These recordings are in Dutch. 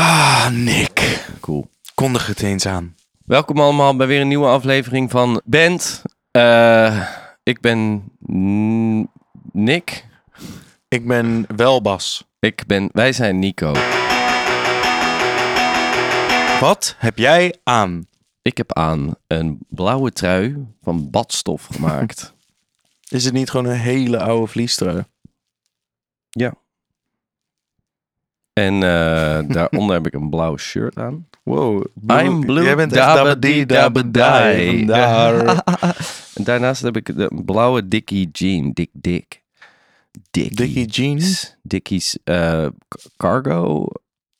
Ah, Nick. Cool. Kondig het eens aan. Welkom allemaal bij weer een nieuwe aflevering van Band. Eh, ik ben N- Nick. Ik ben wel Bas. Ik ben, wij zijn Nico. Wat heb jij aan? Ik heb aan een blauwe trui van badstof gemaakt. Is het niet gewoon een hele oude vliestrui? en eh, daaronder heb ik een blauw shirt aan. Wow. I'm blue. Jij bent echt dabadie, dabadai. dabadai. Vandaar. En daarnaast heb ik de blauwe Dickie jean. Dick Dick. Dickie. Dickie jeans? Dickie's eh, k- cargo.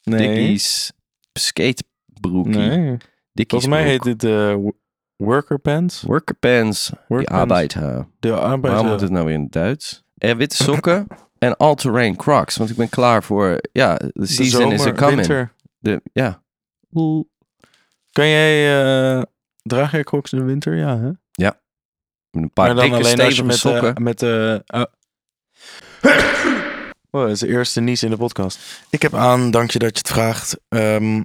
Dickie's skatebroekie. Nee. Dickie's Volgens mij broek. heet dit eh, wo- worker pants. Workerpants. Die Workpants. arbeid. eh. hè. De Waarom moet arbeids... het nou weer in het Duits? En witte sokken. en all-terrain crocs. Want ik ben klaar voor... Ja, the de season is a zomer, coming. winter. De, ja. Kan jij... eh draag jij crocs in de winter? Ja, hè? Met Een paar dikke stevige met, eh, sokken. met eh, eh, oh, dat is de eerste nies in de podcast. Ik heb aan, dank je dat je het vraagt. Ehm,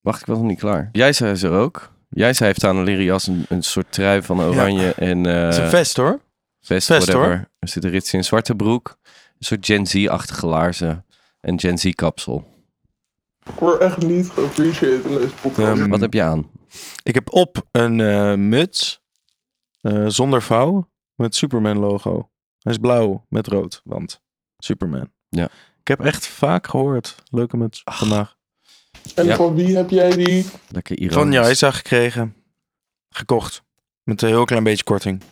Wacht, ik was nog niet klaar. Jij zei is er ook. Jij zei heeft aan een leren jas een, een soort trui van oranje en eh, het is een vest hoor. vest, vest, whatever. Er zit een rits in een zwarte broek. Een soort Gen Z-achtige laarzen. En Gen Z-kapsel. Ik word echt niet geappreciated in deze podcast. Ehm, Wat heb je aan? Ik heb op een eh, muts eh, zonder vouw met Superman logo. Hij is blauw met rood, want Superman. Ja. Ik heb echt vaak gehoord. Leuke muts vandaag. en ja. van wie heb jij die? Lekker ironisch. Van Jaisa gekregen. Gekocht. Met een heel klein beetje korting.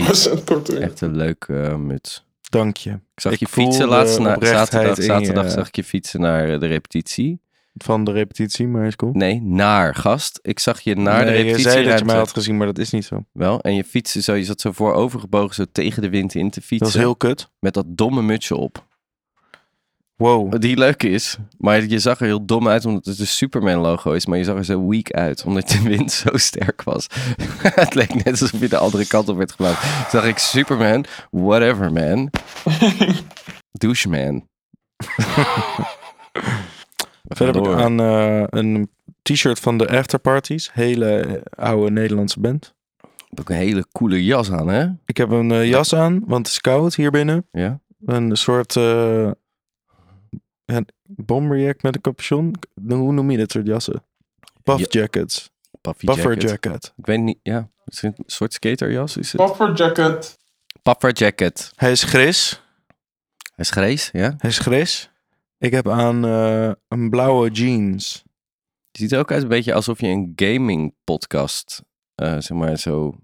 Echt 100% korting. Echt een leuke eh, muts. Dank je. Ik zag Ik je voel fietsen de laatst na, oprechtheid zaterdag. in je- zaterdag zag ik je fietsen naar eh, de repetitie. Van de repetitie, maar is cool. Nee, naar gast. Ik zag je naar de Nee, je repetitie. zei dat je mij had gezien, maar dat is niet zo. Wel, en je fietsen zo, je zat zo voorovergebogen, zo tegen de wind in te Dat fietsen. is heel kut. Met dat domme mutsje op. Wow. Die leuk is. Maar je zag er heel dom uit omdat het een Superman logo is. Maar je zag er zo weak uit. Omdat de wind zo sterk was. het leek net alsof je de andere kant op werd gelopen. Toen dacht ik Superman. Whatever man. Douche man. We gaan Verder heb ik door. aan eh, een t-shirt van de Afterparties. Hele eh, oude Nederlandse band. Heb ik een hele coole jas aan hè? Ik heb een eh, jas aan, want het is koud hier binnen. Ja. Een soort eh een bomberjack met een capuchon. Hoe noem je dit soort jassen? Buff jackets. Puffy Buffer jacket. jacket. Ik weet niet. Ja. Is het een soort skaterjas? Is het? Puffer jacket. Puffer jacket. Hij is gris. Hij is grijs. Ja. Hij is gris. Ik heb aan eh, een blauwe jeans. Het ziet er ook uit een beetje alsof je een gaming podcast, eh, zeg maar zo, een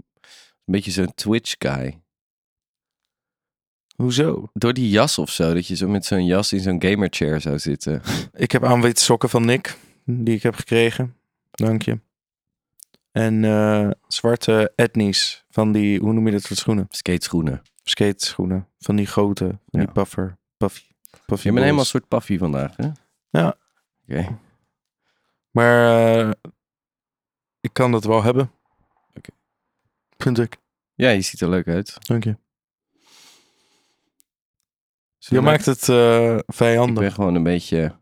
beetje zo'n Twitch guy. Hoezo? Door die jas of zo, dat je zo met zo'n jas in zo'n gamer chair zou zitten. Ik heb aan witte sokken van Nick, die ik heb gekregen. Dank je. En eh, zwarte etnies van die, hoe noem je dat soort schoenen? Skateschoenen. Skate schoenen. Van die grote, van die Ja. puffer. Puffy. Puffy Je bent balls. helemaal een soort paffie vandaag, hè? Ja. Oké. Maar eh, ik kan dat wel hebben. Oké. Vind ik. Ja, je ziet er leuk uit. Dank je. Je Zullen we- maakt het eh, Ik vijandig. ben gewoon een beetje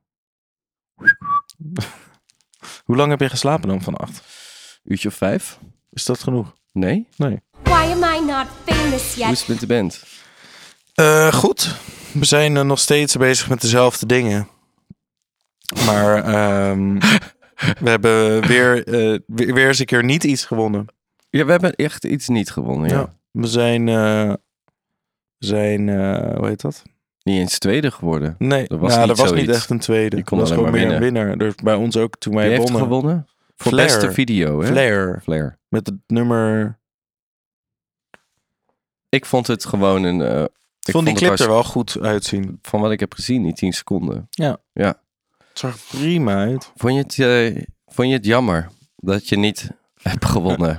Hoe lang heb je geslapen dan vannacht? uurtje of vijf. Is dat genoeg? Nee? Why am I not famous Hoe yet? is het met de band? Eh, goed. We zijn eh, nog steeds bezig met dezelfde dingen. Maar ehm, we hebben weer, eh, weer, weer eens een keer niet iets gewonnen. Ja, we hebben echt iets niet gewonnen, ja. Ja. We zijn, eh, we zijn eh, hoe heet dat? Niet eens tweede geworden. Nee, Er was nou, niet er was zoiets. niet echt een tweede. Je kon er was alleen gewoon maar meer een winnaar. Dus bij ons ook toen wij Wie heeft wonnen. gewonnen? Voor Flair. beste video, hè? Flair. Flair. Met het nummer... Ik vond het gewoon een... eh, Ik vond die het clip hartst- er wel goed uitzien. van wat ik heb gezien, die 10 seconden. Het zag prima uit. Vond je het, eh, vond je het jammer dat je niet hebt gewonnen?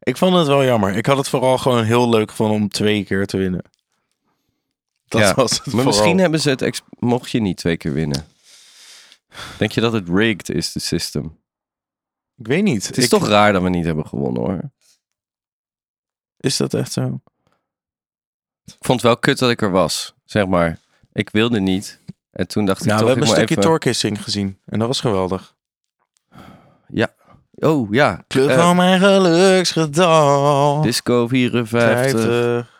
Ik vond het wel jammer. Ik had het vooral gewoon heel leuk gevonden om twee keer te winnen. Dat Ja, was het maar vooral. misschien hebben ze het, ex- mocht je niet twee keer winnen. Denk je dat het rigged is, de system? Ik weet niet. eh, Het is Ik- toch raar dat we niet hebben gewonnen hoor. Is dat echt zo? Nou, Ik vond het wel kut dat ik er was, zeg maar. Ik wilde niet. En toen dacht ik Nou, we toch, ik hebben moet een stukje even... Eh, Torkissing gezien. En dat was geweldig. Ja. Oh, ja. Club Eh, van mijn geluksgetal. Disco 54. 50.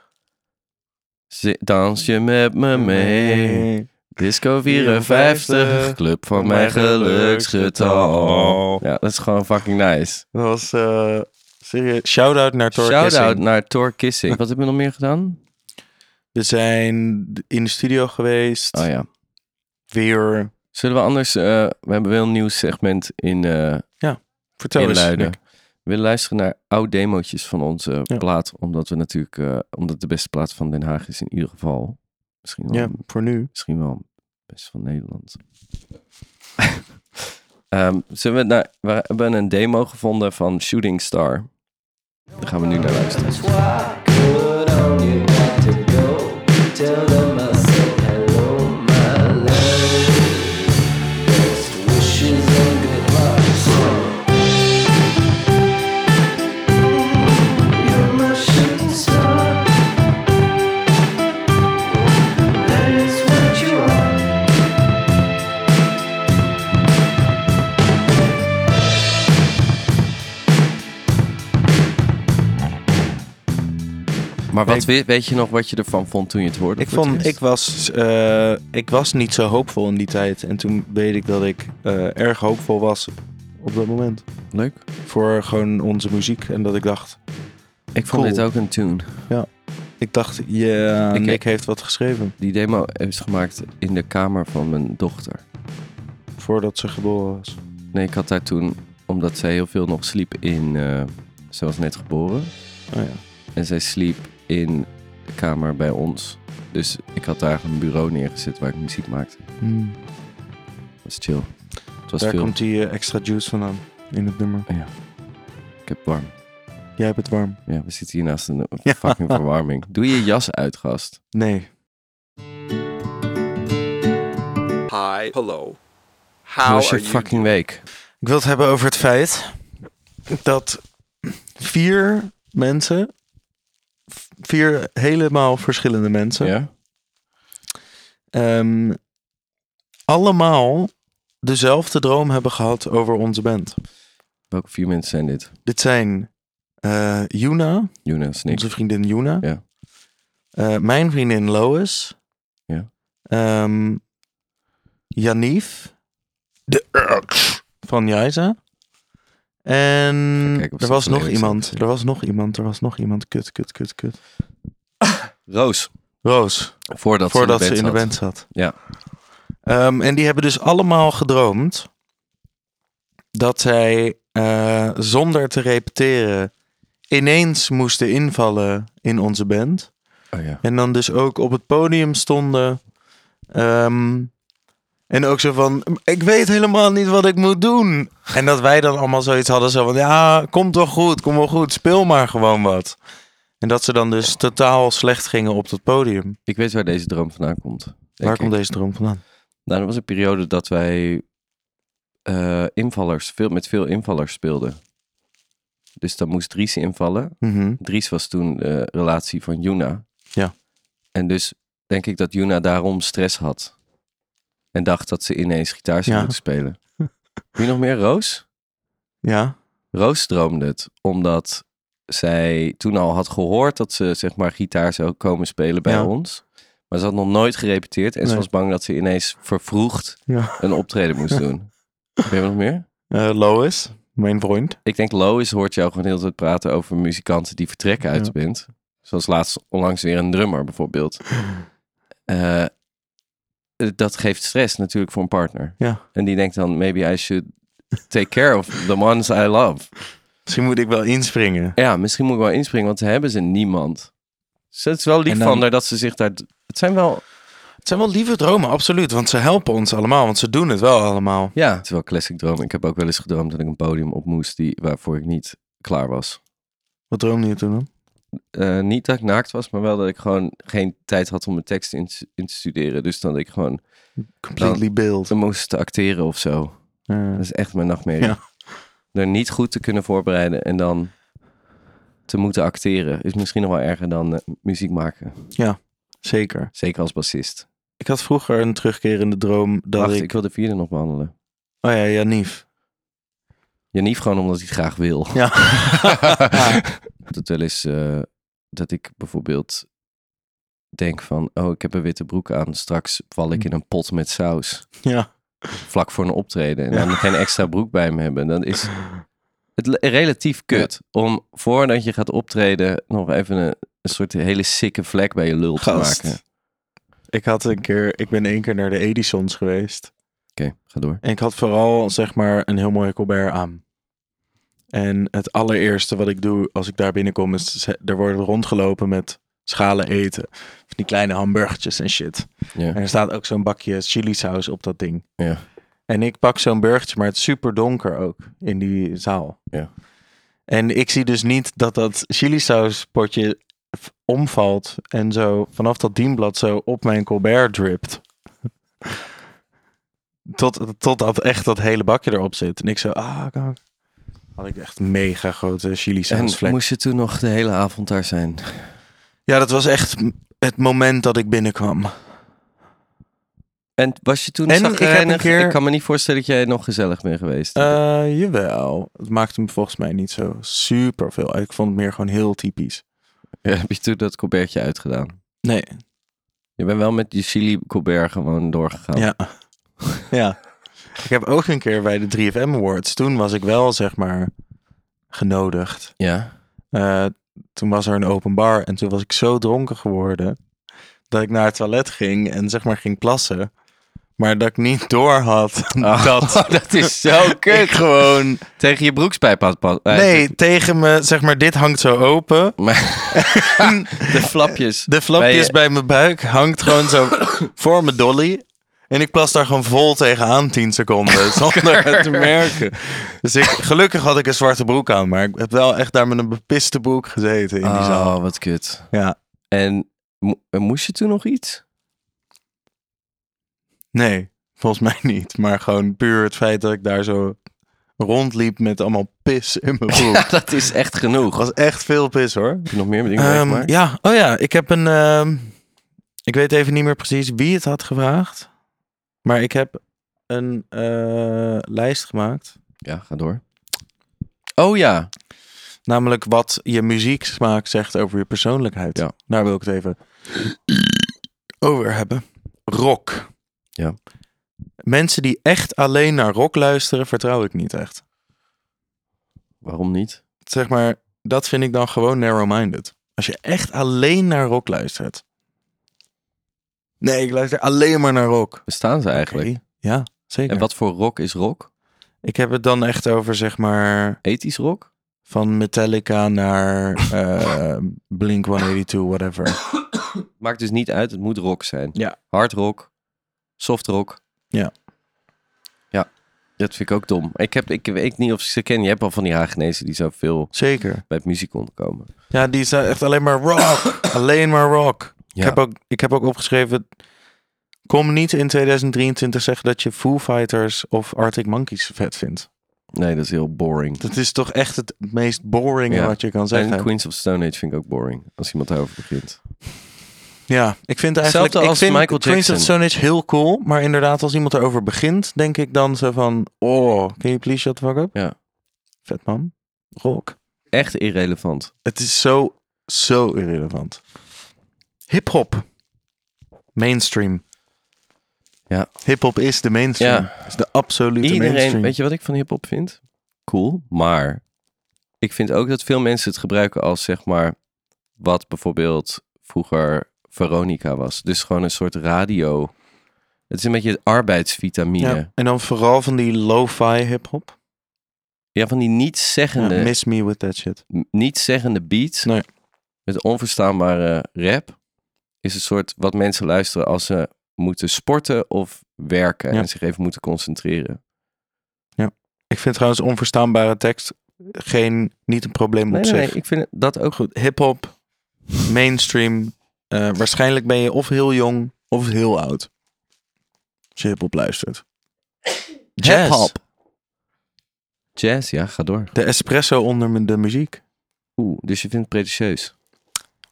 Zi- Dans je met me mee. Disco 54. 54. Club van mijn geluksgetal. geluksgetal. Ja, dat is gewoon fucking nice. Dat was eh serieus. Shout-out naar Tor Shout-out Kissing. naar Thor Kissing. Wat hebben we nog meer gedaan? We zijn in de studio geweest. Oh ja. Weer. Zullen we anders... eh, we hebben wel een nieuw segment in, eh Vertel eens. inluiden. Nick. We willen luisteren naar oude demootjes van onze Ja. plaat. Omdat we natuurlijk... eh, omdat de beste plaat van Den Haag is in ieder geval. Misschien wel Ja, voor nu. Misschien wel best van Nederland. Ehm, zullen we, naar, we hebben een demo gevonden van Shooting Star. Daar gaan we nu naar luisteren. Maar wat weet, weet je nog wat je ervan vond toen je het hoorde? Ik, voor het vond, eerst? ik, was, eh, ik was niet zo hoopvol in die tijd. En toen weet ik dat ik eh, erg hoopvol was op dat moment. Leuk. Voor gewoon onze muziek. En dat ik dacht... Ik vond Cool. dit ook een tune. Ik dacht, ja, Ik- Nick heeft wat geschreven. Die demo is gemaakt in de kamer van mijn dochter. Voordat ze geboren was. Nee, ik had daar toen... Omdat zij heel veel nog sliep in... eh, ze was net geboren. Oh ja. En zij sliep in de kamer bij ons. Dus ik had daar een bureau neergezet waar ik muziek maakte. Hmm, Dat was chill. Het was Daar veel. komt die eh, extra juice vandaan. In het nummer. Ik heb warm. Jij hebt het warm. Ja, we zitten hier naast een Ja. fucking verwarming. Doe je jas uit, gast. Nee. Hi, hello. Hoe How was are you? je fucking week? Ik wil het hebben over het feit dat vier mensen, v- vier helemaal verschillende mensen, Ja? ehm, allemaal dezelfde droom hebben gehad over onze band. Welke vier mensen zijn dit? Dit zijn eh Juna, Jonas, Nick. onze vriendin Juna, Ja. Eh, mijn vriendin Lois, Ja. Ehm, Janief, de ex van Jaisa. En kijken of er ze was van nog Erik iemand, zijn. er was nog iemand, er was nog iemand. Kut, kut, kut, kut. Roos. Roos, Voordat, voordat ze in de band band zat. Ja. Ehm, en die hebben dus allemaal gedroomd dat zij eh, zonder te repeteren ineens moesten invallen in onze band. zat. Oh ja. En dan dus ook op het podium stonden. Ehm, en ook zo van, ik weet helemaal niet wat ik moet doen. En dat wij dan allemaal zoiets hadden zo van, ja, komt wel goed, kom wel goed, speel maar gewoon wat. En dat ze dan dus totaal slecht gingen op dat podium. Ik weet waar deze droom vandaan komt. denk Waar ik. komt deze droom vandaan? Nou, er was een periode dat wij eh, invallers, veel, met veel invallers speelden. Dus dan moest Dries invallen. Mhm. Dries was toen de relatie van Juna. Ja. En dus denk ik dat Juna daarom stress had. En dacht dat ze ineens gitaar zou Ja. moeten spelen. Wie nog meer? Roos? Ja, Roos droomde het omdat zij toen al had gehoord dat ze zeg maar gitaar zou komen spelen bij Ja. ons. Maar ze had nog nooit gerepeteerd en ze Nee. was bang dat ze ineens vervroegd Ja. een optreden moest doen. Weet je nog meer? Eh, Lois, mijn vriend. Ik denk Lois hoort jou gewoon heel de tijd praten over muzikanten die vertrekken uit de band. Zoals laatst onlangs weer een drummer bijvoorbeeld. Eh, dat geeft stress natuurlijk voor een partner. Ja. En die denkt dan, maybe I should take care of the ones I love. Misschien moet ik wel inspringen. Ja, misschien moet ik wel inspringen, want ze hebben ze niemand. Dus het is wel lief En dan- van haar dat ze zich daar... Het zijn wel... Het zijn wel lieve dromen, absoluut. Want ze helpen ons allemaal, want ze doen het wel allemaal. Ja, het is wel classic droom. Ik heb ook wel eens gedroomd dat ik een podium op moest die, waarvoor ik niet klaar was. Wat droomde je toen dan? Eh, niet dat ik naakt was, maar wel dat ik gewoon geen tijd had om mijn tekst in, te- in te studeren. Dus dat ik gewoon Nou. Completely build. moest acteren of zo. Eh, Dat is echt mijn nachtmerrie. Ja. Er niet goed te kunnen voorbereiden en dan te moeten acteren is misschien nog wel erger dan eh, muziek maken. zeker. Zeker als bassist. Ik had vroeger een terugkerende droom dat Wacht, ik... ik wil de vierde nog behandelen. Oh ja, Janief. Janief gewoon omdat hij het graag wil. Ja. Dat wel eens eh, dat ik bijvoorbeeld denk van... Oh, ik heb een witte broek aan. Straks val Hm. ik in een pot met saus. Ja. Vlak voor een optreden. En dan geen extra broek bij me hebben. Dan is het le- relatief kut. Om voordat je gaat optreden nog even een, een soort hele sikke vlek bij je lul Gast. te maken. Ik had een keer, ik ben één keer naar de Edisons geweest. Oké, ga door. En ik had vooral zeg maar een heel mooie colbert aan. En het allereerste wat ik doe als ik daar binnenkom is, ze- er wordt rondgelopen met schalen eten. Van die kleine hamburgertjes en shit. Ja. En er staat ook zo'n bakje chilisaus op dat ding. Ja. En ik pak zo'n burgertje, maar het is super donker ook in die zaal. Ja. En ik zie dus niet dat dat chilisauspotje v- omvalt en zo vanaf dat dienblad zo op mijn colbert dript. Tot, totdat echt dat hele bakje erop zit. En ik zo, ah, kak. Had ik echt mega grote En chilisausvlek. moest je toen nog de hele avond daar zijn? Ja, dat was echt m- het moment dat ik binnenkwam. En was je toen En ik heb een chagrijnig? keer- Ik kan me niet voorstellen dat jij nog gezellig bent geweest. Eh, jawel. Het maakte me volgens mij niet zo super veel uit. Ik vond het meer gewoon heel typisch. Ja, heb je toen dat colbertje uitgedaan? Nee. Je bent wel met je chili colbert gewoon doorgegaan. Ja. Oh. ja. Ik heb ook een keer bij de 3FM Awards. Toen was ik wel, zeg maar, genodigd. Ja? Eh, toen was er een open bar en toen was ik zo dronken geworden dat ik naar het toilet ging en zeg maar ging plassen. Maar dat ik niet door had. dat Dat is zo ik kut. gewoon. Tegen je broekspijp had pas. eh, Nee, tegen me, zeg maar, dit hangt zo open. Maar de flapjes. De flapjes je- bij, mijn buik hangt gewoon zo voor mijn dolly. En ik plas daar gewoon vol tegenaan 10 seconden. Zonder het te merken. Dus ik, gelukkig had ik een zwarte broek aan. Maar ik heb wel echt daar met een bepiste broek gezeten in die zaal. Oh, wat kut. Ja. En mo- en moest je toen nog iets? Nee, volgens mij niet. Maar gewoon puur het feit dat ik daar zo rondliep met allemaal pis in mijn broek. Ja, dat is echt genoeg. Het Heb was echt veel pis hoor. je nog meer dingen Ehm, meegemaakt? ja, oh ja, ik heb een. ehm, ik weet even niet meer precies wie het had gevraagd. Maar ik heb een eh, lijst gemaakt. Ja, ga door. Oh ja. Namelijk wat je muzieksmaak zegt over je persoonlijkheid. Ja. Daar wil ik het even over hebben. Rock. Ja. Mensen die echt alleen naar rock luisteren, vertrouw ik niet echt. Waarom niet? Zeg maar, dat vind ik dan gewoon narrow-minded. Als je echt alleen naar rock luistert. Nee, ik luister alleen maar naar rock. Bestaan ze eigenlijk? Oké, Ja, zeker. En wat voor rock is rock? Ik heb het dan echt over, zeg maar, Ethisch rock? van Metallica naar eh, Blink 182, whatever. Maakt dus niet uit, het moet rock zijn. Ja. Hard rock, soft rock. Ja. Ja, dat vind ik ook dom. Ik, heb, ik weet niet of ik ze ken. Je hebt al van die Hagenezen die zoveel Zeker. bij het muziek komen. Ja, die is echt alleen maar rock. alleen maar rock. Ja. Ik, heb ook, ik heb ook opgeschreven. Kom niet in 2023 zeggen dat je Foo Fighters of Arctic Monkeys vet vindt. Nee, dat is heel boring. Dat is toch echt het meest boring Ja. wat je kan zeggen. En Queens of Stone Age vind ik ook boring. Als iemand daarover begint. Ja, ik vind eigenlijk Hetzelfde ik als vind Michael Queens of Jackson. Stone Age heel cool, maar inderdaad als iemand erover begint, denk ik dan zo van, oh, can you please shut the fuck up? Ja. Vet man, rock. Echt irrelevant. Het is zo, zo irrelevant. Hip-hop, mainstream. Ja. Hip-hop is de mainstream. Ja. Is de absolute Iedereen, mainstream. weet je wat ik van hip-hop vind? Cool, maar ik vind ook dat veel mensen het gebruiken als zeg maar wat bijvoorbeeld vroeger Veronica was. Dus gewoon een soort radio. Het is een beetje het arbeidsvitamine. Ja, ja. En dan vooral van die lo-fi hip-hop. van die Ja, nietszeggende, miss me with that shit. m- nietszeggende beats Nee. met onverstaanbare rap is een soort wat mensen luisteren als ze moeten sporten of werken Ja. en zich even moeten concentreren. Ik vind trouwens onverstaanbare tekst geen, niet een probleem Nee, op nee, zich. nee, ik vind dat ook Goed, hip-hop, mainstream. eh, waarschijnlijk ben je of heel jong of heel oud. Als je hip-hop luistert. Jazz. Hip-hop. Jazz, ja, ga door. De espresso onder m- de muziek. Oeh, dus je vindt het pretentieus.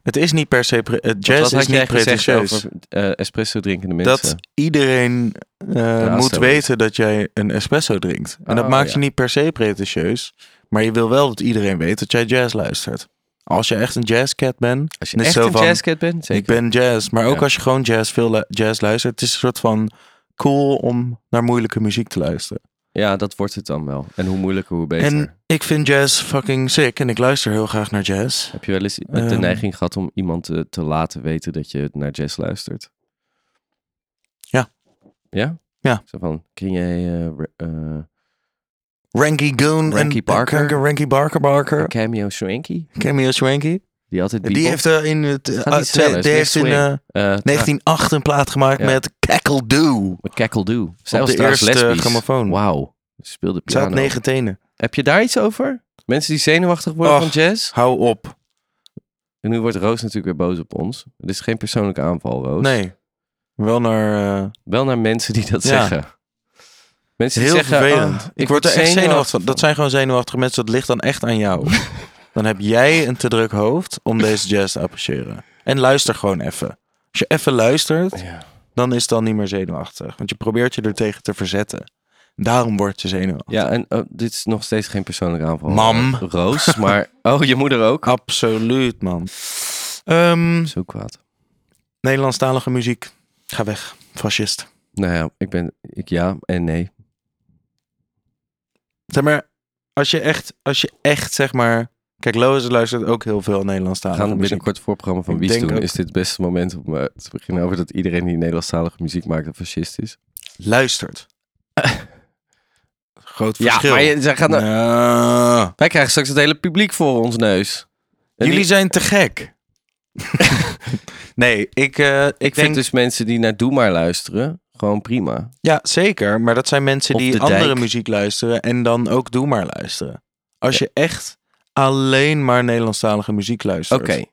Het is niet per se. pre- eh, Want jazz wat is had jij niet gezegd pretentieus. over eh, espresso drinkende mensen? Dat iedereen eh, Ja, moet zo. weten dat jij een espresso drinkt. En dat Oh, maakt ja. je niet per se pretentieus. Maar je wil wel dat iedereen weet dat jij jazz luistert. Als je echt een jazzcat bent. Als je dan is echt het zo een van, jazzcat bent, zeker. Ik ben jazz. Maar ook Ja. als je gewoon jazz, veel lu- jazz luistert. Het is een soort van cool om naar moeilijke muziek te luisteren. Ja, dat wordt het dan wel. En hoe moeilijker, hoe beter. En ik vind jazz fucking sick. En ik luister heel graag naar jazz. Heb je wel eens de Ehm. neiging gehad om iemand eh, te, te laten weten dat je naar jazz luistert? Ja. Ja? Ja. Zo van, ken jij... eh, re- eh, Ranky Goon. Ranky en, Barker. en- Ranky Barker Barker. Cameo Swanky? Cameo Swanky. Die altijd Die heeft eh, in het... eh, Gaat niet twee- sneller, die is heeft in meer swing. eh, eh, tra- 1908 een plaat gemaakt Ja. met Cackle Doo. Met Cackle Doo. Zij Op was de trouwens eerste lesbisch. grammofoon. Wauw. Ze Speelde Ze had piano. negen tenen. Heb je daar iets over? Mensen die zenuwachtig worden Och. van jazz? Hou op. En nu wordt Roos natuurlijk weer boos op ons. Dit is geen persoonlijke aanval, Roos. Nee. Wel naar... eh, Wel naar mensen die dat Ja. zeggen. Mensen die heel zeggen, vervelend. "Ah, ik, word er echt zenuwachtig, van. Dat van." zijn gewoon zenuwachtige mensen. Dat ligt dan echt aan jou. dan heb jij een te druk hoofd om deze jazz te appreciëren. En luister gewoon even. Als je even luistert, Ja. dan is het dan niet meer zenuwachtig. Want je probeert je er tegen te verzetten. Daarom word je zenuwachtig. Ja, en oh, dit is nog steeds geen persoonlijke aanval. Mam. eh, Roos, maar... Oh, je moeder ook? Absoluut, man. Ehm, Zo kwaad. Nederlandstalige muziek. Ga weg, fascist. Nou ja, ik ben... Ik ja en nee. Zeg maar, als je echt, als je echt zeg maar. Kijk, Lois luistert ook heel veel We Nederlandstalige gaan muziek. binnenkort het voorprogramma van Ah, Ik Wies denk doen. ook- Is dit het beste moment om eh, te beginnen over dat iedereen die Nederlandstalige muziek maakt een fascist is? Luistert. Groot verschil. Ja, maar je, zij gaan er- Nou, wij krijgen straks het hele publiek voor ons neus. En Jullie die- zijn te gek. nee, ik, eh, ik, ik denk... vind dus mensen die naar Doe Maar luisteren, gewoon prima. Ja, zeker. Maar dat zijn mensen Op de die andere dijk. muziek luisteren en dan ook Doe Maar luisteren. Als je echt alleen maar Nederlandstalige muziek luistert. Oké,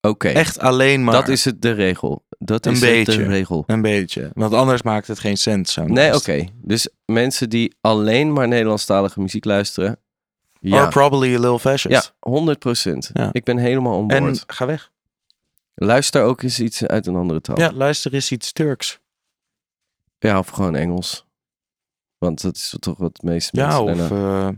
oké. Echt alleen maar. Dat is het de regel. Dat Een is het de beetje. regel. Een beetje. Want anders maakt het geen sens. zo'n Nee, oké. lijst. Dus mensen die alleen maar Nederlandstalige muziek luisteren. Or Ja, probably a little fascist. ja 100 procent. Ja. Ik ben helemaal on En board. ga weg. Luister ook eens iets uit een andere taal. Ja, luister eens iets Turks. Ja, of gewoon Engels. Want dat is toch wat de meeste Ja, mensen of daarna- eh,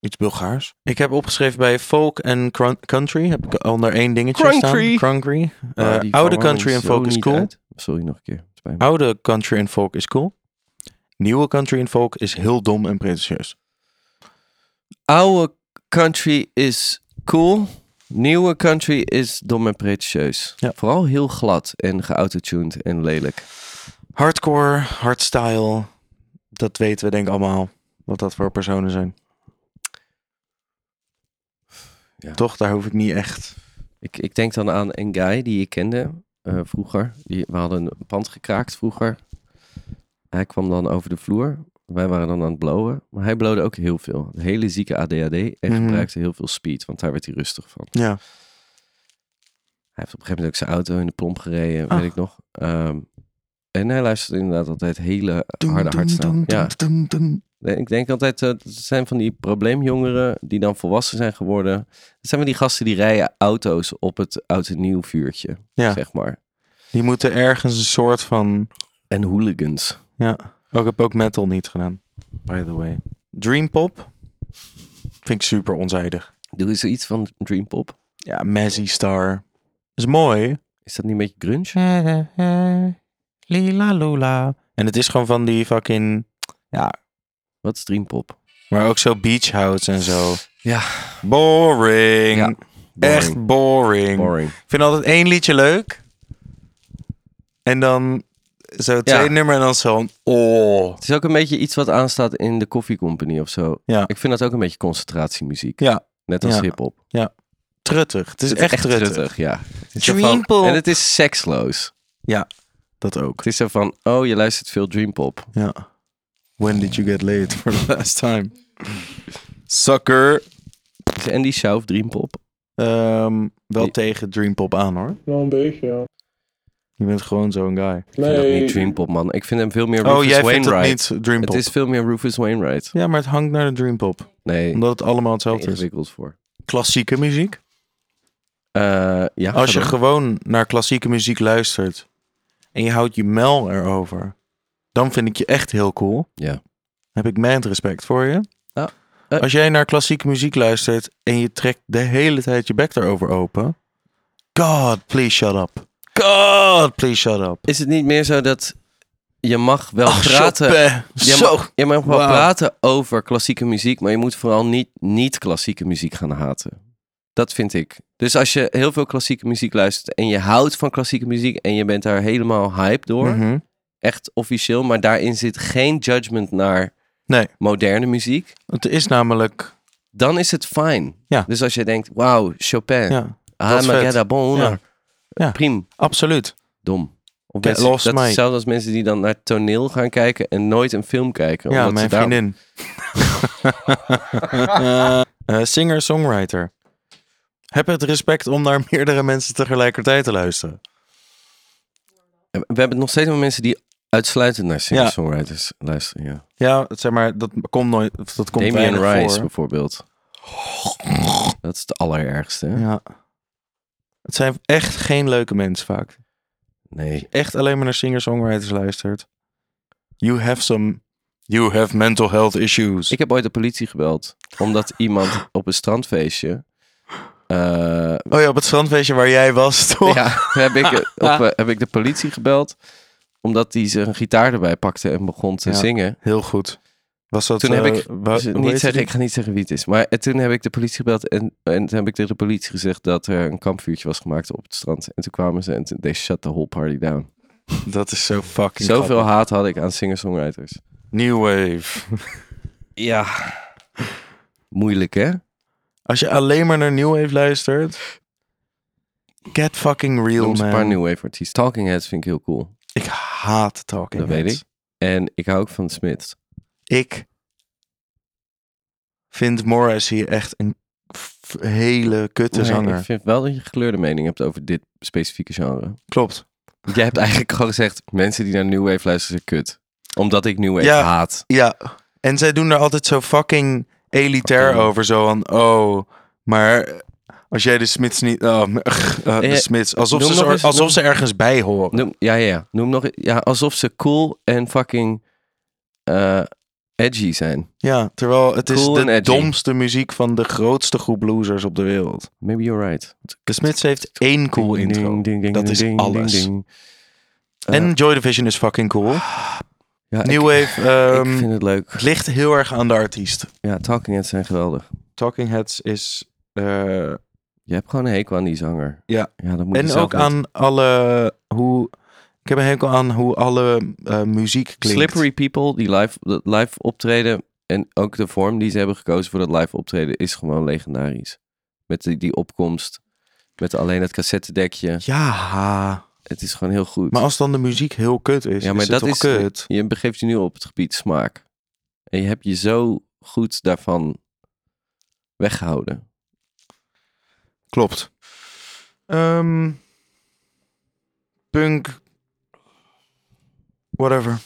iets Bulgaars. Ik heb opgeschreven bij folk en crun- country. Heb ik onder één dingetje Crunchy. staan. Crunchy. Eh, Maar Ah, die oude verwarren country en zo folk is niet cool. uit. Sorry, nog een keer. Het spijt me. Oude country en folk is cool. Nieuwe country en folk is heel dom en pretentieus. Oude country is cool. Nieuwe country is dom en pretentieus. Ja. Vooral heel glad en geautotuned en lelijk. Hardcore, hardstyle. Dat weten we denk ik allemaal. Wat dat voor personen zijn. Ja. Toch, daar hoef ik niet echt. Ik, ik denk dan aan een guy die ik kende eh, vroeger. Die, we hadden een pand gekraakt vroeger. Hij kwam dan over de vloer. Wij waren dan aan het blowen. Maar hij blowde ook heel veel. Een hele zieke ADHD. En Mhm. gebruikte heel veel speed. Want daar werd hij rustig van. Ja. Hij heeft op een gegeven moment ook zijn auto in de plomp gereden. Ah. Weet ik nog. Ehm, en hij luisterde inderdaad altijd hele harde hardstyle. Ja, Nee, Ik denk altijd, eh, het zijn van die probleemjongeren die dan volwassen zijn geworden. Het zijn van die gasten die rijden auto's op het oud en nieuw vuurtje, Ja. zeg maar. Die moeten ergens een soort van En hooligans. Ja. Oh, ik heb ook metal niet gedaan. By the way. Dreampop. Vind ik super onzijdig. Doe eens iets van Dreampop. Ja, Mazzy Star. Is mooi. Is dat niet een beetje grunge? Lila lula. En het is gewoon van die fucking... Ja, Wat is Dreampop? maar ook zo beach house en zo. Ja. Boring. Ja. Echt boring. boring. Ik vind altijd één liedje leuk. En dan zo het tweede nummer en dan zo'n... Oh. Het is ook een beetje iets wat aanstaat in de Coffee Company of zo. Ja. Ik vind dat ook een beetje concentratiemuziek. Ja. Net als Ja. hip-hop. Truttig. Het is, echt, truttig. ja. Het is zo van- Dreampop. En het is seksloos. Dat ook. Het is zo van, oh, je luistert veel Dreampop. Ja. When did you get laid for the last time? Sucker. Is Andy Schauff Dreampop? Ehm, wel Die- tegen Dreampop aan hoor. Wel een beetje, ja. Je bent gewoon zo'n guy. Ik vind dat Nee, niet Dreampop, man. Ik vind hem veel meer Rufus Oh, jij vindt het Wainwright. niet Dreampop? Het is veel meer Rufus Wainwright. Ja, maar het hangt naar de Dreampop. Nee, Omdat het allemaal hetzelfde is. ingewikkeld voor. Klassieke muziek. Eh, ja, Als je ga door. gewoon naar klassieke muziek luistert en je houdt je mel erover, dan vind ik je echt heel cool. Ja. Heb ik mijn respect voor je. Ja. Eh. Als jij naar klassieke muziek luistert en je trekt de hele tijd je bek daarover open. God, please shut up. God, please shut up. Is het niet meer zo dat je mag wel Ach, praten... Oh, Chopin. Je Zo. mag, je mag wel Wauw. praten over klassieke muziek, maar je moet vooral niet, niet klassieke muziek gaan haten. Dat vind ik. Dus als je heel veel klassieke muziek luistert en je houdt van klassieke muziek en je bent daar helemaal hype door, Mhm. echt officieel, maar daarin zit geen judgment naar Nee. moderne muziek, Het is namelijk... dan is het fijn. Ja. Dus als je denkt, wauw, Chopin, ah, Ja. dat is Armageddon, vet. bon Ja. honneur. Ja. Priem, Absoluut. dom. Of Get mensen, lost, dat is mate. hetzelfde als mensen die dan naar toneel gaan kijken en nooit een film kijken. Ja, omdat mijn ze daar- vriendin. Eh, Singer-songwriter. Heb het respect om naar meerdere mensen tegelijkertijd te luisteren. We hebben het nog steeds met mensen die uitsluitend naar singer-songwriters luisteren. Ja. Ja, zeg maar, dat komt nooit. of Dat komt Damien weinig Rice voor. bijvoorbeeld. Dat is het allerergste. hè? Ja. Het zijn echt geen leuke mensen vaak. Nee. Echt alleen maar naar singer-songwriters luistert. You have some. You have mental health issues. Ik heb ooit de politie gebeld. Omdat iemand op een strandfeestje... eh, Oh ja, op het strandfeestje waar jij was, toch? ja, heb, ik, op, eh, heb ik de politie gebeld. Omdat die zijn gitaar erbij pakte en begon te Ja. zingen. Heel goed. Was dat, Toen heb eh, ik... wa- dus hoe niet heet zeggen, die? ik ga niet zeggen wie het is. Maar eh, toen heb ik de politie gebeld. En, en toen heb ik tegen de politie gezegd dat er een kampvuurtje was gemaakt op het strand. En toen kwamen ze en toen, they shut the whole party down. Dat is zo fucking Zoveel grappig. haat had ik aan singer-songwriters. New wave. Ja. Moeilijk, hè? Als je alleen maar naar New Wave luistert. Get fucking real, Noem eens man. een paar new wave artiesten. Talking Heads vind ik heel cool. Ik haat Talking dat weet Heads. ik. En ik hou ook van Smith. Ik vind Morrissey echt een f- hele kutte zanger. ik vind wel dat je gekleurde mening hebt over dit specifieke genre. Klopt. Jij hebt eigenlijk gewoon gezegd, mensen die naar new wave luisteren zijn kut. Omdat ik new wave Ja. haat. Ja. En zij doen daar altijd zo fucking elitair Fucking- over. Zo van, oh, maar als jij de Smits niet... Oh, ugh, eh, Eh, de Smits. Alsof, noem ze, nog zo- eens- alsof noem- ze ergens bij horen. Noem, ja, ja, ja. Noem nog... Ja, alsof ze cool en fucking eh, edgy zijn. Ja, terwijl het is Cool en de edgy. domste muziek van de grootste groep losers op de wereld. Maybe you're right. De Smits heeft één cool Ding, intro. ding, ding, ding, dat is ding, ding, alles. ding. En Joy Division is fucking cool. Ja, eh, Ah, ik- New Wave ehm, ik vind het leuk. het ligt heel erg aan de artiest. Ja, Talking Heads zijn geweldig. Talking Heads is... eh, Je hebt gewoon een hekel aan die zanger. Ja. ja dat moet je en zelf ook weten. aan alle... Hoe, ik heb een hekel aan hoe alle eh, muziek klinkt. Slippery People, die live, dat live optreden. En ook de vorm die ze hebben gekozen voor dat live optreden is gewoon legendarisch. Met die, die opkomst. Met alleen het cassettedekje. Ja, Het is gewoon heel goed. maar als dan de muziek heel kut is, ja, maar is dat het is. toch kut? Je begeeft je nu op het gebied smaak. En je hebt je zo goed daarvan weggehouden. Klopt. Ehm, punk. Whatever.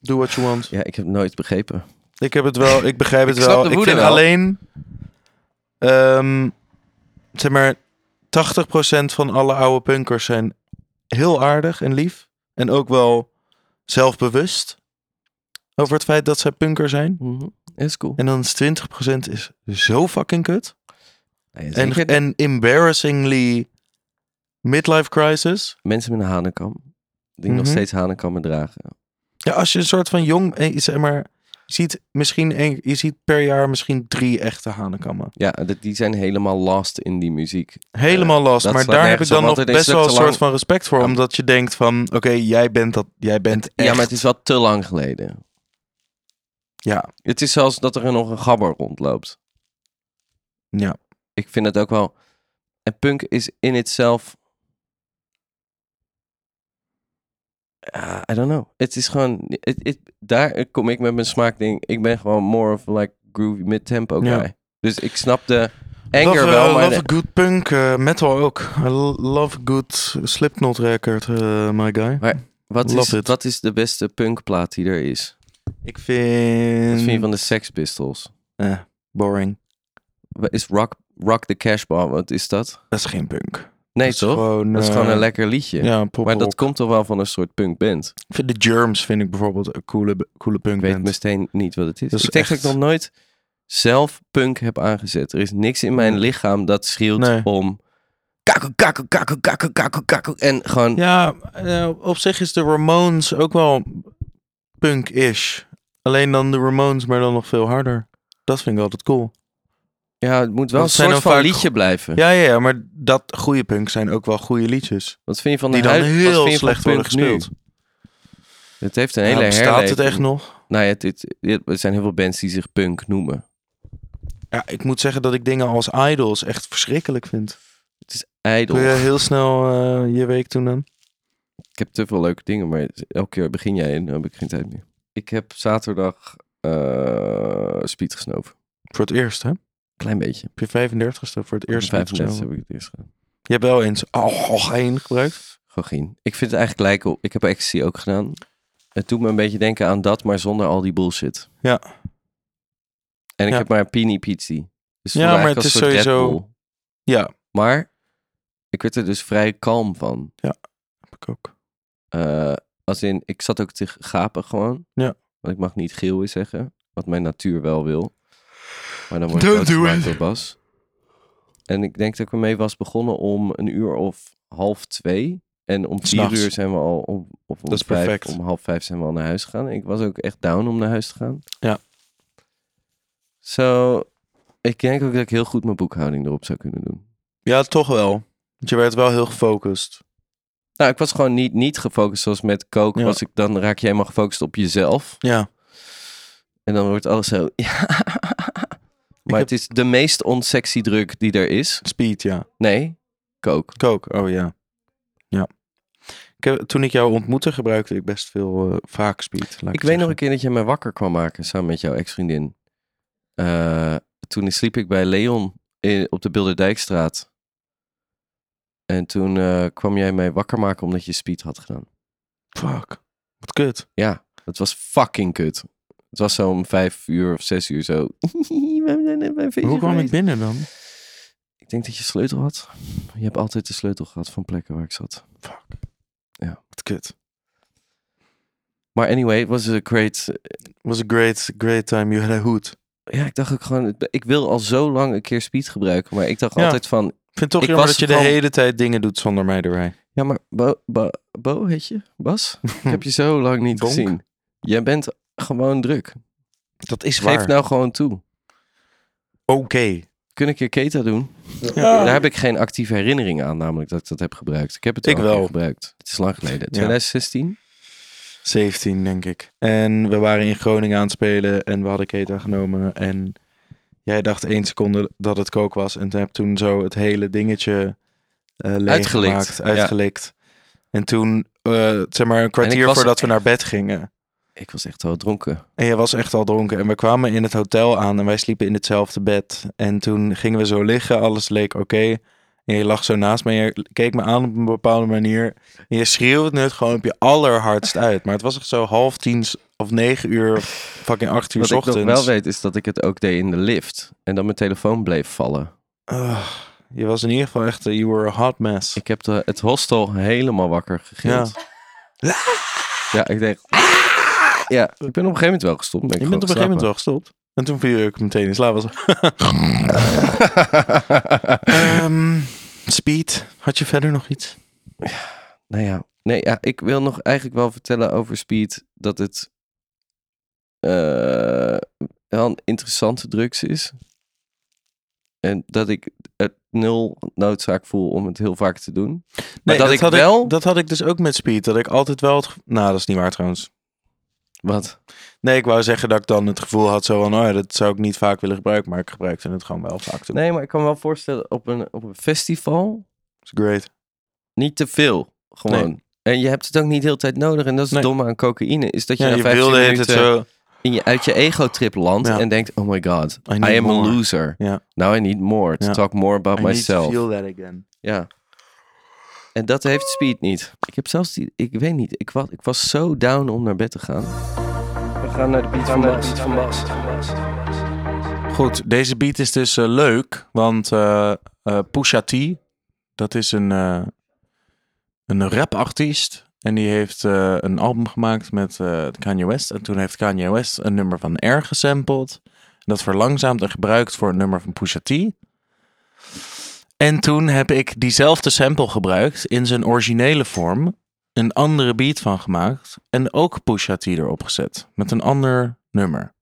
Do what you want. Ja, ik heb het nooit begrepen. Ik heb het wel, ik begrijp het Ik snap wel. de Ik woede vind wel. alleen, ehm, zeg maar, 80% van alle oude punkers zijn heel aardig en lief. En ook wel zelfbewust over het feit dat zij punker zijn. Is cool. En dan is 20% is zo fucking kut. Nee, En, zeker. en embarrassingly midlife crisis. mensen met een hanenkam. Die nog Mhm. steeds hanenkammen dragen. Ja, als je een soort van jong, eh, zeg maar, je ziet misschien, één- je ziet per jaar misschien drie echte hanenkammen. Ja, dat- die zijn helemaal lost in die muziek. Helemaal last. Eh, dat maar slaat daar heb ik nergens dan op, nog want het is best wel een ook te soort lang. van respect voor. Ja. Omdat je denkt van, oké, jij bent dat, jij bent echt. Ja, maar het is wel te lang geleden. Ja, Het is zelfs dat er nog een gabber rondloopt. ja. Ik vind het ook wel... En punk is in itself... Ah, I don't know. Het is gewoon... Het, het, daar kom ik met mijn smaakding. Ik ben gewoon more of like groovy mid-tempo guy. Ja. Dus ik snap de anger love, eh, wel, maar... love a good punk, eh, metal ook. I lo- love a good Slipknot record, eh, my guy. wat, is, love it. wat is de beste punkplaat die er is? Ik Wat vind... vind je van de Sex Pistols? Eh, boring. Is Rock, rock the Cash Bomb, wat is dat? Dat is geen punk. Nee, is toch? gewoon, dat is eh, gewoon een lekker liedje. Ja, pop maar dat komt toch wel van een soort punkband. Ik vind de Germs vind ik bijvoorbeeld een coole, coole Ik weet punkband. meteen niet wat het is. Dat is ik denk dat echt- ik nog nooit zelf punk heb aangezet. Er is niks in mijn lichaam dat schreeuwt Nee. om... Kakkel, kakkel, kakkel, kakkel, kakkel, kakkel. En gewoon... Ja, eh, op zich is de Ramones ook wel punk-ish. Alleen dan de Ramones, maar dan nog veel harder. Dat vind ik altijd cool. Ja, het moet wel een Dat zijn soort van dan vaak- liedje blijven. Ja, ja, ja, maar dat goede punk zijn ook wel goede liedjes. Wat vind je van de Die dan huid- wat vind heel je van slecht worden punk nu? gespeeld. Het heeft een Ja, hele bestaat herleving. het echt nog? Nou ja, het, het- het- er zijn heel veel bands die zich punk noemen. Ja, ik moet zeggen dat ik dingen als Idols echt verschrikkelijk vind. Het is ijdel. Wil je heel snel eh, je week doen dan? Ik heb te veel leuke dingen, maar elke keer begin jij en dan heb ik geen tijd meer. Ik heb zaterdag eh, speed gesnoven. Voor het eerst, hè? Klein beetje. Op je 35ste voor het eerst. Eerst 35 uitgesneden. heb ik het eerst gedaan. Je hebt wel eens oh, oh, geen gebruikt. Gogien. Ik vind het eigenlijk lijken op. Ik heb ecstasy ook gedaan. Het doet me een beetje denken aan dat, maar zonder al die bullshit. Ja. En ik Ja. heb maar een Pini Pizzi. Dus Ja, voelde maar eigenlijk het als een is soort Red sowieso- Bull. Ja, Maar ik werd er dus vrij kalm van. heb ik ook. Eh, als in, ik zat ook te gapen gewoon. Ja. Want ik mag niet geel is zeggen. Wat mijn natuur wel wil. Maar dan word ik Don't do doodgemaakt it. door Bas. En ik denk dat ik ermee was begonnen om een uur of half twee. En om vier S'nachts. uur zijn we al, om, of om, Dat is vijf, perfect. om half vijf zijn we al naar huis gegaan. Ik was ook echt down om naar huis te gaan. Ja. Zo, ik denk ook dat ik heel goed mijn boekhouding erop zou kunnen doen. Ja, toch wel. Want je werd wel heel gefocust. Nou, ik was gewoon niet, niet gefocust zoals met koken. Ja. Was ik, dan raak je helemaal gefocust op jezelf. Ja. En dan wordt alles zo. Ja. Maar heb- het is de meest onsexy druk die er is. Speed, ja. Nee, kook. Kook, oh ja. Ja. Ik heb- toen ik jou ontmoette gebruikte ik best veel eh, vaak speed. laat Ik weet het nog zeggen. een keer dat je mij wakker kwam maken samen met jouw ex-vriendin. Eh, toen sliep ik bij Leon in, op de Bilderdijkstraat. En toen eh, kwam jij mij wakker maken omdat je speed had gedaan. Fuck. Wat kut. Ja, het was fucking kut. Het was zo om vijf uur of zes uur zo. We zijn net bij een feestje Hoe kwam ik geweest. binnen dan? Ik denk dat je sleutel had. Je hebt altijd de sleutel gehad van plekken waar ik zat. Fuck. Ja. Wat kut. Maar anyway, het was a great. was a great, great time. You had a hood. Ja, ik dacht ook gewoon. Ik wil al zo lang een keer speed gebruiken. Maar ik dacht Ja. altijd van. Ik vind het toch Ik jammer was dat je de van- hele tijd dingen doet zonder mij erbij. Ja, maar Bo, Bo, Bo heet je? Bas? ik heb je zo lang niet Bonk. gezien. Jij bent gewoon druk. Dat is Geef nou gewoon toe. nou- Oké. Kun ik je Keta doen? Ja. Daar heb ik geen actieve herinnering aan, namelijk dat ik dat heb gebruikt. Ik heb het Ik wel, een keer wel. gebruikt. Het is lang geleden. 2016? 17, denk ik. En we waren in Groningen aan het spelen en we hadden Keta genomen. En jij dacht één seconde dat het kook was. En heb toen zo het hele dingetje eh Uitgelikt, leeggemaakt, ja. uitgelikt. En toen, eh, zeg maar, een kwartier was- voordat we naar bed gingen. Ik was echt wel dronken. En jij was echt al dronken. En we kwamen in het hotel aan en wij sliepen in hetzelfde bed. En toen gingen we zo liggen, alles leek oké. En je lag zo naast me en je keek me aan op een bepaalde manier. En je schreeuwde het gewoon op je allerhardst uit. Maar het was echt zo half tien s- of negen uur, fucking acht uur Wat 's ochtends. ik nog wel weet is dat ik het ook deed in de lift. En dat mijn telefoon bleef vallen. Ugh, je was in ieder geval echt, eh, you were a hot mess. Ik heb de, het hostel helemaal wakker gegild. Ja, ik denk... ah! Ja, ik ben op een gegeven moment wel gestopt. Ben ik je bent op een gegeven moment gewoon wel gestopt. En toen viel je ook meteen in slaap. Was... geslapen. Ehm, speed, had je verder nog iets? nou ja, nee, ja, ik wil nog eigenlijk wel vertellen over Speed dat het eh, wel een interessante drugs is. En dat ik het nul noodzaak voel om het heel vaak te doen. Maar dat, ik had wel... dat had ik dus ook met speed. Dat ik altijd wel het gevo- Nou, dat is niet waar trouwens. Wat? Nee, ik wou zeggen dat ik dan het gevoel had zo van... Oh, ja, dat zou ik niet vaak willen gebruiken. Maar ik gebruikte het gewoon wel vaak. Toen. Nee, maar ik kan me wel voorstellen op een, op een festival It's great. niet te veel. Gewoon. En je hebt het ook niet de hele tijd nodig. En dat is het Nee. domme aan cocaïne. Is dat je Ja, na je 15 wilde het minuten zo... in je, uit je ego-trip landt. Ja. En denkt, oh my god, I, need am more. a loser. Ja. Now I need more. To Ja. talk more about I need to myself. feel that again. Ja. En dat heeft Speed niet. Ik heb zelfs die... Ik weet niet. Ik was, ik was zo down om naar bed te gaan. We gaan naar de beat van Bas. Goed, deze beat is dus eh, leuk. Want eh eh, Pusha T, Dat is een, eh een rapartiest. En die heeft eh, een album gemaakt met eh, Kanye West. En toen heeft Kanye West een nummer van R gesampled. Dat verlangzaamd en gebruikt voor het nummer van Pusha T. En toen heb ik diezelfde sample gebruikt in zijn originele vorm. Een andere beat van gemaakt. En ook Pusha T erop gezet. Met een ander nummer.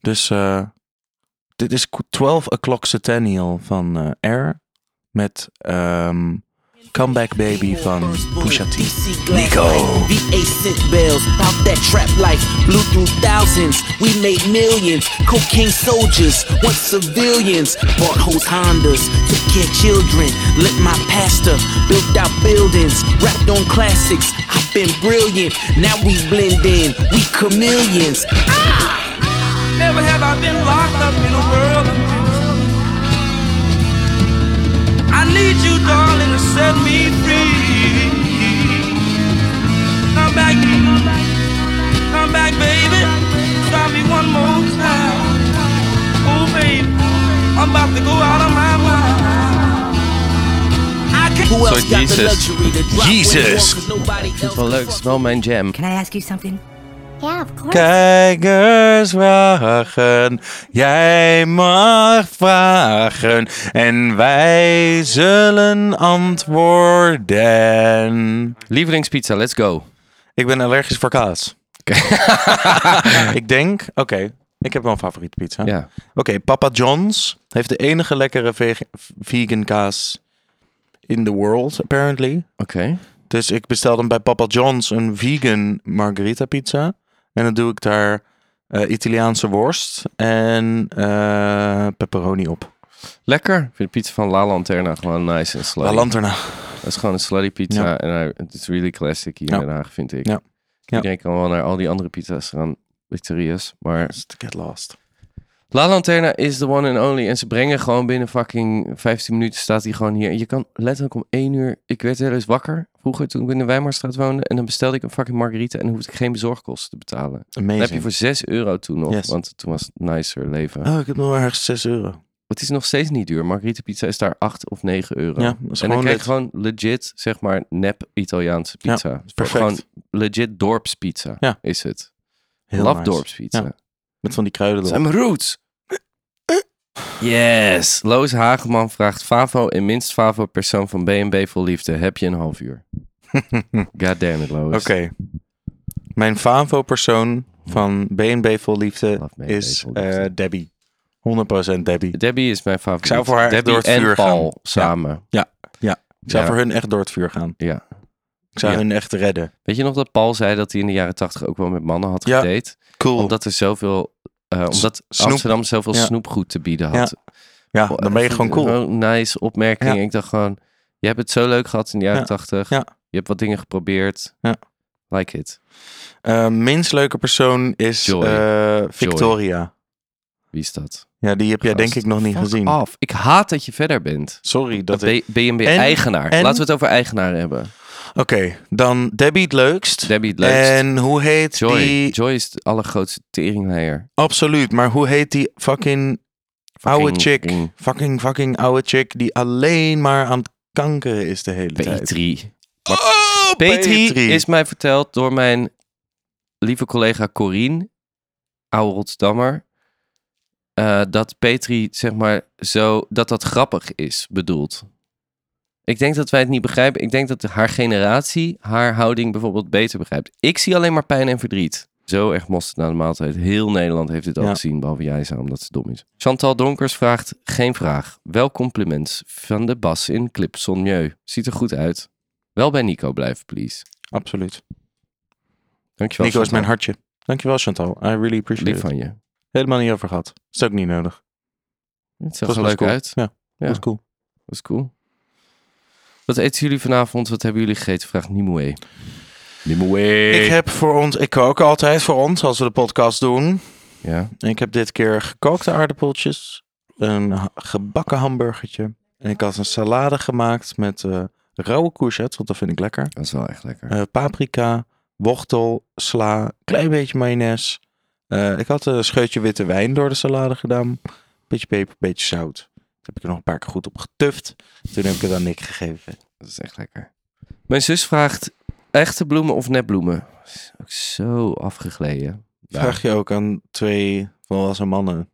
Dus eh, dit is 12 O'Clock Centennial van eh R. Met ehm, Comeback Baby van Pusha T. Nico. V8 cent bells, pop that trap life. Blew through thousands, we made millions. Cocaine soldiers, once civilians. Bought hoes Hondas, took care of children. Lit my pastor, built out buildings. Rapped on classics, I've been brilliant. Now we blend in, we chameleons. Never have I been locked up in a world of music. I need you, darling, to set me free. Come back, come back, baby. Try me one more time. Oh, baby, I'm about to go out of my mind. I can't. Who else got the Jesus. luxury to drop Jesus. Jesus. Nobody else Wel leuk, het is wel mijn jam. Can I ask you something? Yeah, of course. Kijkers vragen, jij mag vragen en wij zullen antwoorden. Lievelingspizza, let's go. Ik ben allergisch voor kaas. ik denk, oké, ik heb wel een favoriete pizza. Ja. Oké, Papa John's heeft de enige lekkere veg- vegan kaas in the world, apparently. Oké. Dus ik bestel dan bij Papa John's een vegan margarita pizza. En dan doe ik daar eh, Italiaanse worst en eh pepperoni op. Lekker. Ik vind de pizza van La Lanterna gewoon nice en slutty. La lanterna. Dat is gewoon een slutty pizza. Ja. En hij- het is really classic hier Ja. in Den Haag, vind ik. Ja. Ja. Iedereen kan wel naar al die andere pizza's gaan. Pizzeria's. Maar Get lost. La Lanterna is the one and only. En ze brengen gewoon binnen fucking 15 minuten staat hij gewoon hier. En je kan letterlijk om 1 uur... Ik werd heel eens wakker vroeger toen ik in de Weimarstraat woonde. En dan bestelde ik een fucking margarita. En dan hoefde ik geen bezorgkosten te betalen. Dan heb je Amazing. voor 6 euro toen nog. Yes. Want toen was het nicer leven. Oh, ik heb nog maar ergens 6 euro. Het is nog steeds niet duur. Margarita pizza is daar 8 of 9 euro. Ja, dat is en dan gewoon krijg je dit. gewoon legit, zeg maar, nep Italiaanse Ja, pizza. perfect. Gewoon legit dorpspizza Ja. is het. Heel Love nice. dorpspizza. Ja. Met van die kruiden Zijn erop. mijn roots. Yes. Loos Hageman vraagt Favo en minst Favo persoon van B&B vol liefde. Heb je een half uur? God damn it, Loos. Oké. Mijn favo-persoon van BNB Vol Liefde Love B&B is Vol Liefde. eh, Debbie. 100% Debbie. Debbie is mijn favoriet. zou voor haar echt Debbie door het en vuur Paul gaan. samen. Ik zou Ja. voor hun echt door het vuur gaan. Ja. Ik zou Ja. hun echt redden. Weet je nog dat Paul zei dat hij in de jaren tachtig ook wel met mannen had Ja. gedate? Cool. Omdat er zoveel. eh, omdat snoep. Amsterdam zoveel Ja. snoepgoed te bieden had. ja, Ah, Oh, dan ben je gewoon cool. Gewoon nice opmerking. Ja. Ik dacht gewoon. Je hebt het zo leuk gehad in de jaren Ja. tachtig. Ja. Je hebt wat dingen geprobeerd. Ja. Like it. Eh, minst leuke persoon is Joy. eh, Victoria. Wie is dat? Ja, die heb jij denk ik nog niet Fuck gezien. Af. Ik haat dat je verder bent. Sorry dat Dat ik... BNB En- eigenaar. en- Laten we het over eigenaar hebben. Oké, dan Debbie het leukst. Debbie het leukst. En hoe heet Joy. Eh, die... Joy is de allergrootste teringleier. Absoluut, maar hoe heet die fucking, oude chick? fucking- Fucking, fucking oude chick die alleen maar aan het kankeren is de E hele tijd. Petri. Oh, Petri, is mij verteld door mijn lieve collega Corine, oude Rotterdammer, eh, dat Petri, zeg maar, zo, dat dat grappig is bedoeld. Ik denk dat wij het niet begrijpen. Ik denk dat haar generatie haar houding bijvoorbeeld beter begrijpt. Ik zie alleen maar pijn en verdriet. Zo erg mosterd na de maaltijd. Heel Nederland heeft dit al Ja. gezien, behalve jij zou, omdat ze dom is. Chantal Donkers vraagt, geen vraag. Wel compliment van de Bas in Clip Son Mieux. Ziet er goed uit. Wel bij Nico blijven, please. Absoluut. Dankjewel. Nico is Chantal. mijn hartje. Dankjewel Chantal, I really appreciate Lief it. van je. Helemaal niet over gehad. Is ook niet nodig. Het zag Dat er leuk cool. uit. Ja, Ja, was dat cool. is cool. Wat eten jullie vanavond? Wat hebben jullie gegeten? Vraagt Nimue. Nimue. Ik heb voor ons, ik kook altijd voor ons als we de podcast doen. Ja, Ik heb dit keer gekookte aardappeltjes, een ha- gebakken hamburgertje. En ik had een salade gemaakt met eh, rauwe courgette, want dat vind ik lekker. dat is wel echt lekker. Eh, paprika, wortel, sla, klein beetje mayonaise. Eh, ik had een scheutje witte wijn door de salade gedaan. Beetje peper, beetje zout. Toen heb ik er nog een paar keer goed op getuft. Toen heb ik het aan Nick gegeven. Dat is echt lekker. Mijn zus vraagt echte bloemen of nepbloemen. Dat is ook zo afgegleden. Ja. Vraag je ook aan twee volwassen mannen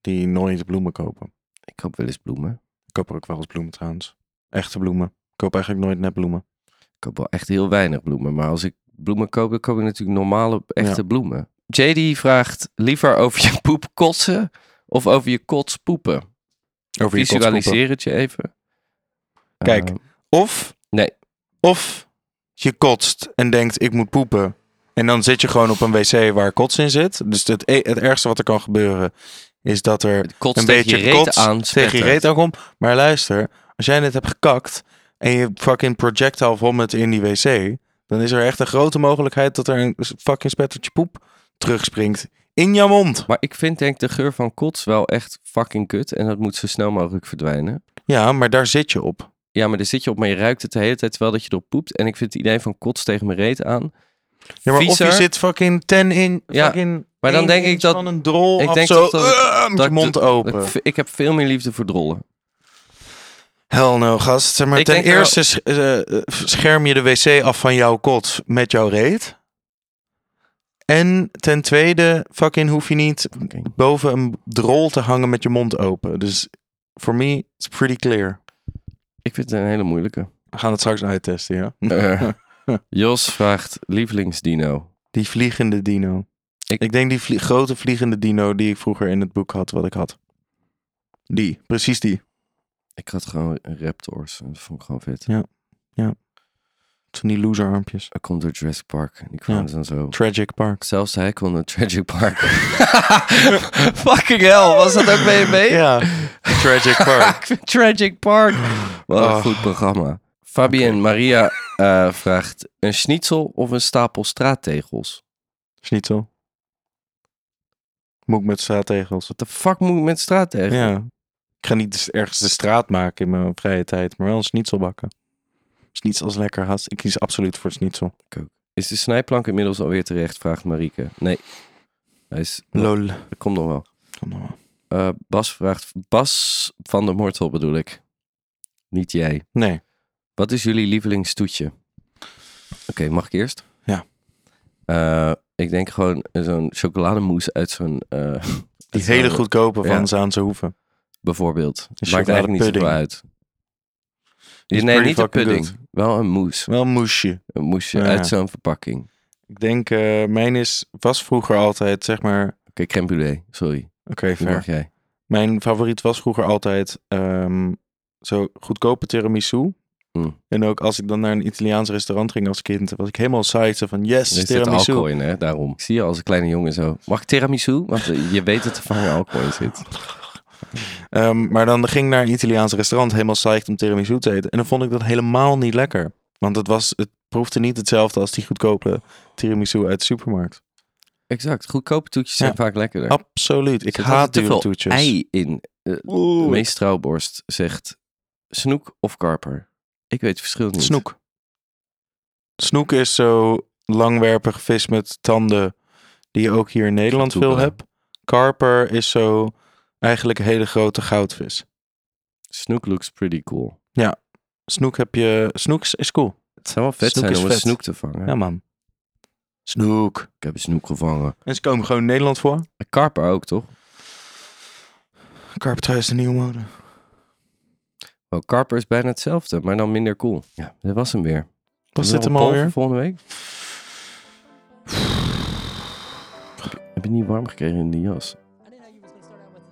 die nooit bloemen kopen. Ik koop wel eens bloemen. Ik koop er ook wel eens bloemen trouwens. Echte bloemen. Ik koop eigenlijk nooit net bloemen. Ik koop wel echt heel weinig bloemen. Maar als ik bloemen koop, dan koop ik natuurlijk normale, echte bloemen. JD vraagt liever over je poep kotsen of over je kots poepen. Over je kotspoepen. Visualiseer het je even. Kijk. Eh, Of, Nee. of je kotst en denkt ik moet poepen. En dan zit je gewoon op een wc waar kots in zit. Dus het, e- het ergste wat er kan gebeuren is dat er het kots een tegen je beetje reet kots aan tegen je spettert. reet aankomt. Maar luister, als jij net hebt gekakt en je fucking projectile vomit in die wc, dan is er echt een grote mogelijkheid dat er een fucking spettertje poep terugspringt in jouw mond. Maar ik vind denk ik de geur van kots wel echt fucking kut. En dat moet zo snel mogelijk verdwijnen. Ja, maar daar zit je op. Ja, maar daar zit je op, maar je ruikt het de hele tijd terwijl dat je erop poept. En ik vind het idee van kots tegen mijn reet aan. Ja, maar of Viezer. je zit fucking ten in, Ja, fucking maar dan één denk ik inch dat- van een drol ik af denk zo, dat dat- eh, met dat je ik- mond open. Ik, ik heb veel meer liefde voor drollen. Hell no, gast. Zeg maar, Ik ten denk wel- eerste sch- eh, eh, scherm je de wc af van jouw kot met jouw reet. En ten tweede, fucking hoef je niet boven een drol te hangen met je mond open. Dus voor me, it's pretty clear. Ik vind het een hele moeilijke. We gaan het straks uittesten, ja? Eh, Jos vraagt lievelingsdino. Die vliegende dino. Ik- Ik, denk die vlie- grote vliegende dino die ik vroeger in het boek had, wat ik had. Die, precies die. Ik had gewoon raptors. en Dat vond ik gewoon vet. Van die loserarmpjes. Dat komt door Jurassic Park. Die kwamen en zo. Tragic Park. Zelfs hij kon een tragic park. Fucking hell, was dat ook mee mee? Ja, Tragic Park. Ik vind Tragic Park. Oh. Wat een goed programma. Fabienne Maria eh, vraagt een schnitzel of een stapel straattegels. Is niet zo. Moet ik met straattegels. Wat de fuck moet ik met straattegels? Ja. Ik ga niet dus ergens de straat maken in mijn vrije tijd, maar wel een schnitzel bakken. Schnitzel is lekker, haast. Ik kies absoluut voor schnitzel. Is de snijplank inmiddels alweer terecht? Vraagt Marieke. Nee. Hij is... Lol. Dat komt nog wel. Kom dan wel. Eh, Bas vraagt... Bas van der Mortel bedoel ik. Niet jij. Nee. Wat is jullie lievelingstoetje? Oké, mag ik eerst? Ja. Eh, ik denk gewoon zo'n chocolademousse uit zo'n... eh, Die uit zo'n- hele goedkope van Ja. Zaanse Hoeven. bijvoorbeeld. Een Maakt eigenlijk niet zoveel chocoladepudding. uit. Die is nee, pretty niet een fucking pudding. Wel een mousse. Wel een moesje. Een moesje Ja. uit zo'n verpakking. Oké, Ik denk, eh, mijn is, was vroeger altijd, zeg maar... Oké, crème brûlée. Sorry. Die ver. mag jij. Mijn favoriet was vroeger altijd ehm, zo goedkope tiramisu. Mm. En ook als ik dan naar een Italiaans restaurant ging als kind, was ik helemaal psyched zo van yes, Er zit tiramisu. alcohol in, hè? Daarom. Ik zie je als een kleine jongen zo. Mag ik tiramisu? Want eh, je weet dat er van alcohol in zit. Ehm, maar dan ging ik naar een Italiaans restaurant helemaal psyched om tiramisu te eten. En dan vond ik dat helemaal niet lekker. Want het, was, het proefde niet hetzelfde als die goedkope tiramisu uit de supermarkt. Exact. Goedkope toetjes zijn Ja. vaak lekkerder. Absoluut. Ik Er zaten haat te dure veel toetjes. ei in. Eh, Oeh. Mees Trouwborst zegt snoek of karper. Ik weet het verschil niet. Snoek. Snoek is zo langwerpig vis met tanden die je ook hier in Nederland veel Toebelen. hebt. Karper is zo eigenlijk een hele grote goudvis. Snoek looks pretty cool. Snoek heb je... Snoek is- is cool. Het zou wel vet Snoek zijn is om een vet. snoek te vangen. Ja, man. Snoek. Ik heb een snoek gevangen. En ze komen gewoon in Nederland voor. Een karper ook, toch? Karper is de nieuwe mode. Wel, karper is bijna hetzelfde, maar dan minder cool. Ja, dat was hem weer. Was Hebben dit we hem nog een poll voor alweer? Volgende week? Heb je het niet warm gekregen in die jas?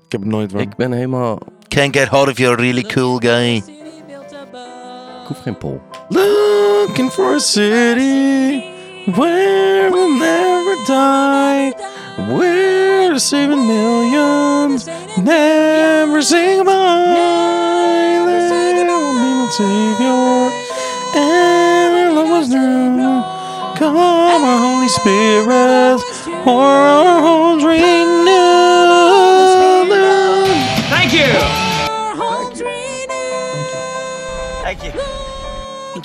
Ik heb het nooit warm. Ik ben helemaal... can't get hold of your really cool guy. Ik hoef geen pol. Looking for a city where we'll never die. Where the seven millions never sing by. There will be no savior. And our love was new. Come, our Holy Spirit, pour our homes renewed. Thank you. Thank you. Thank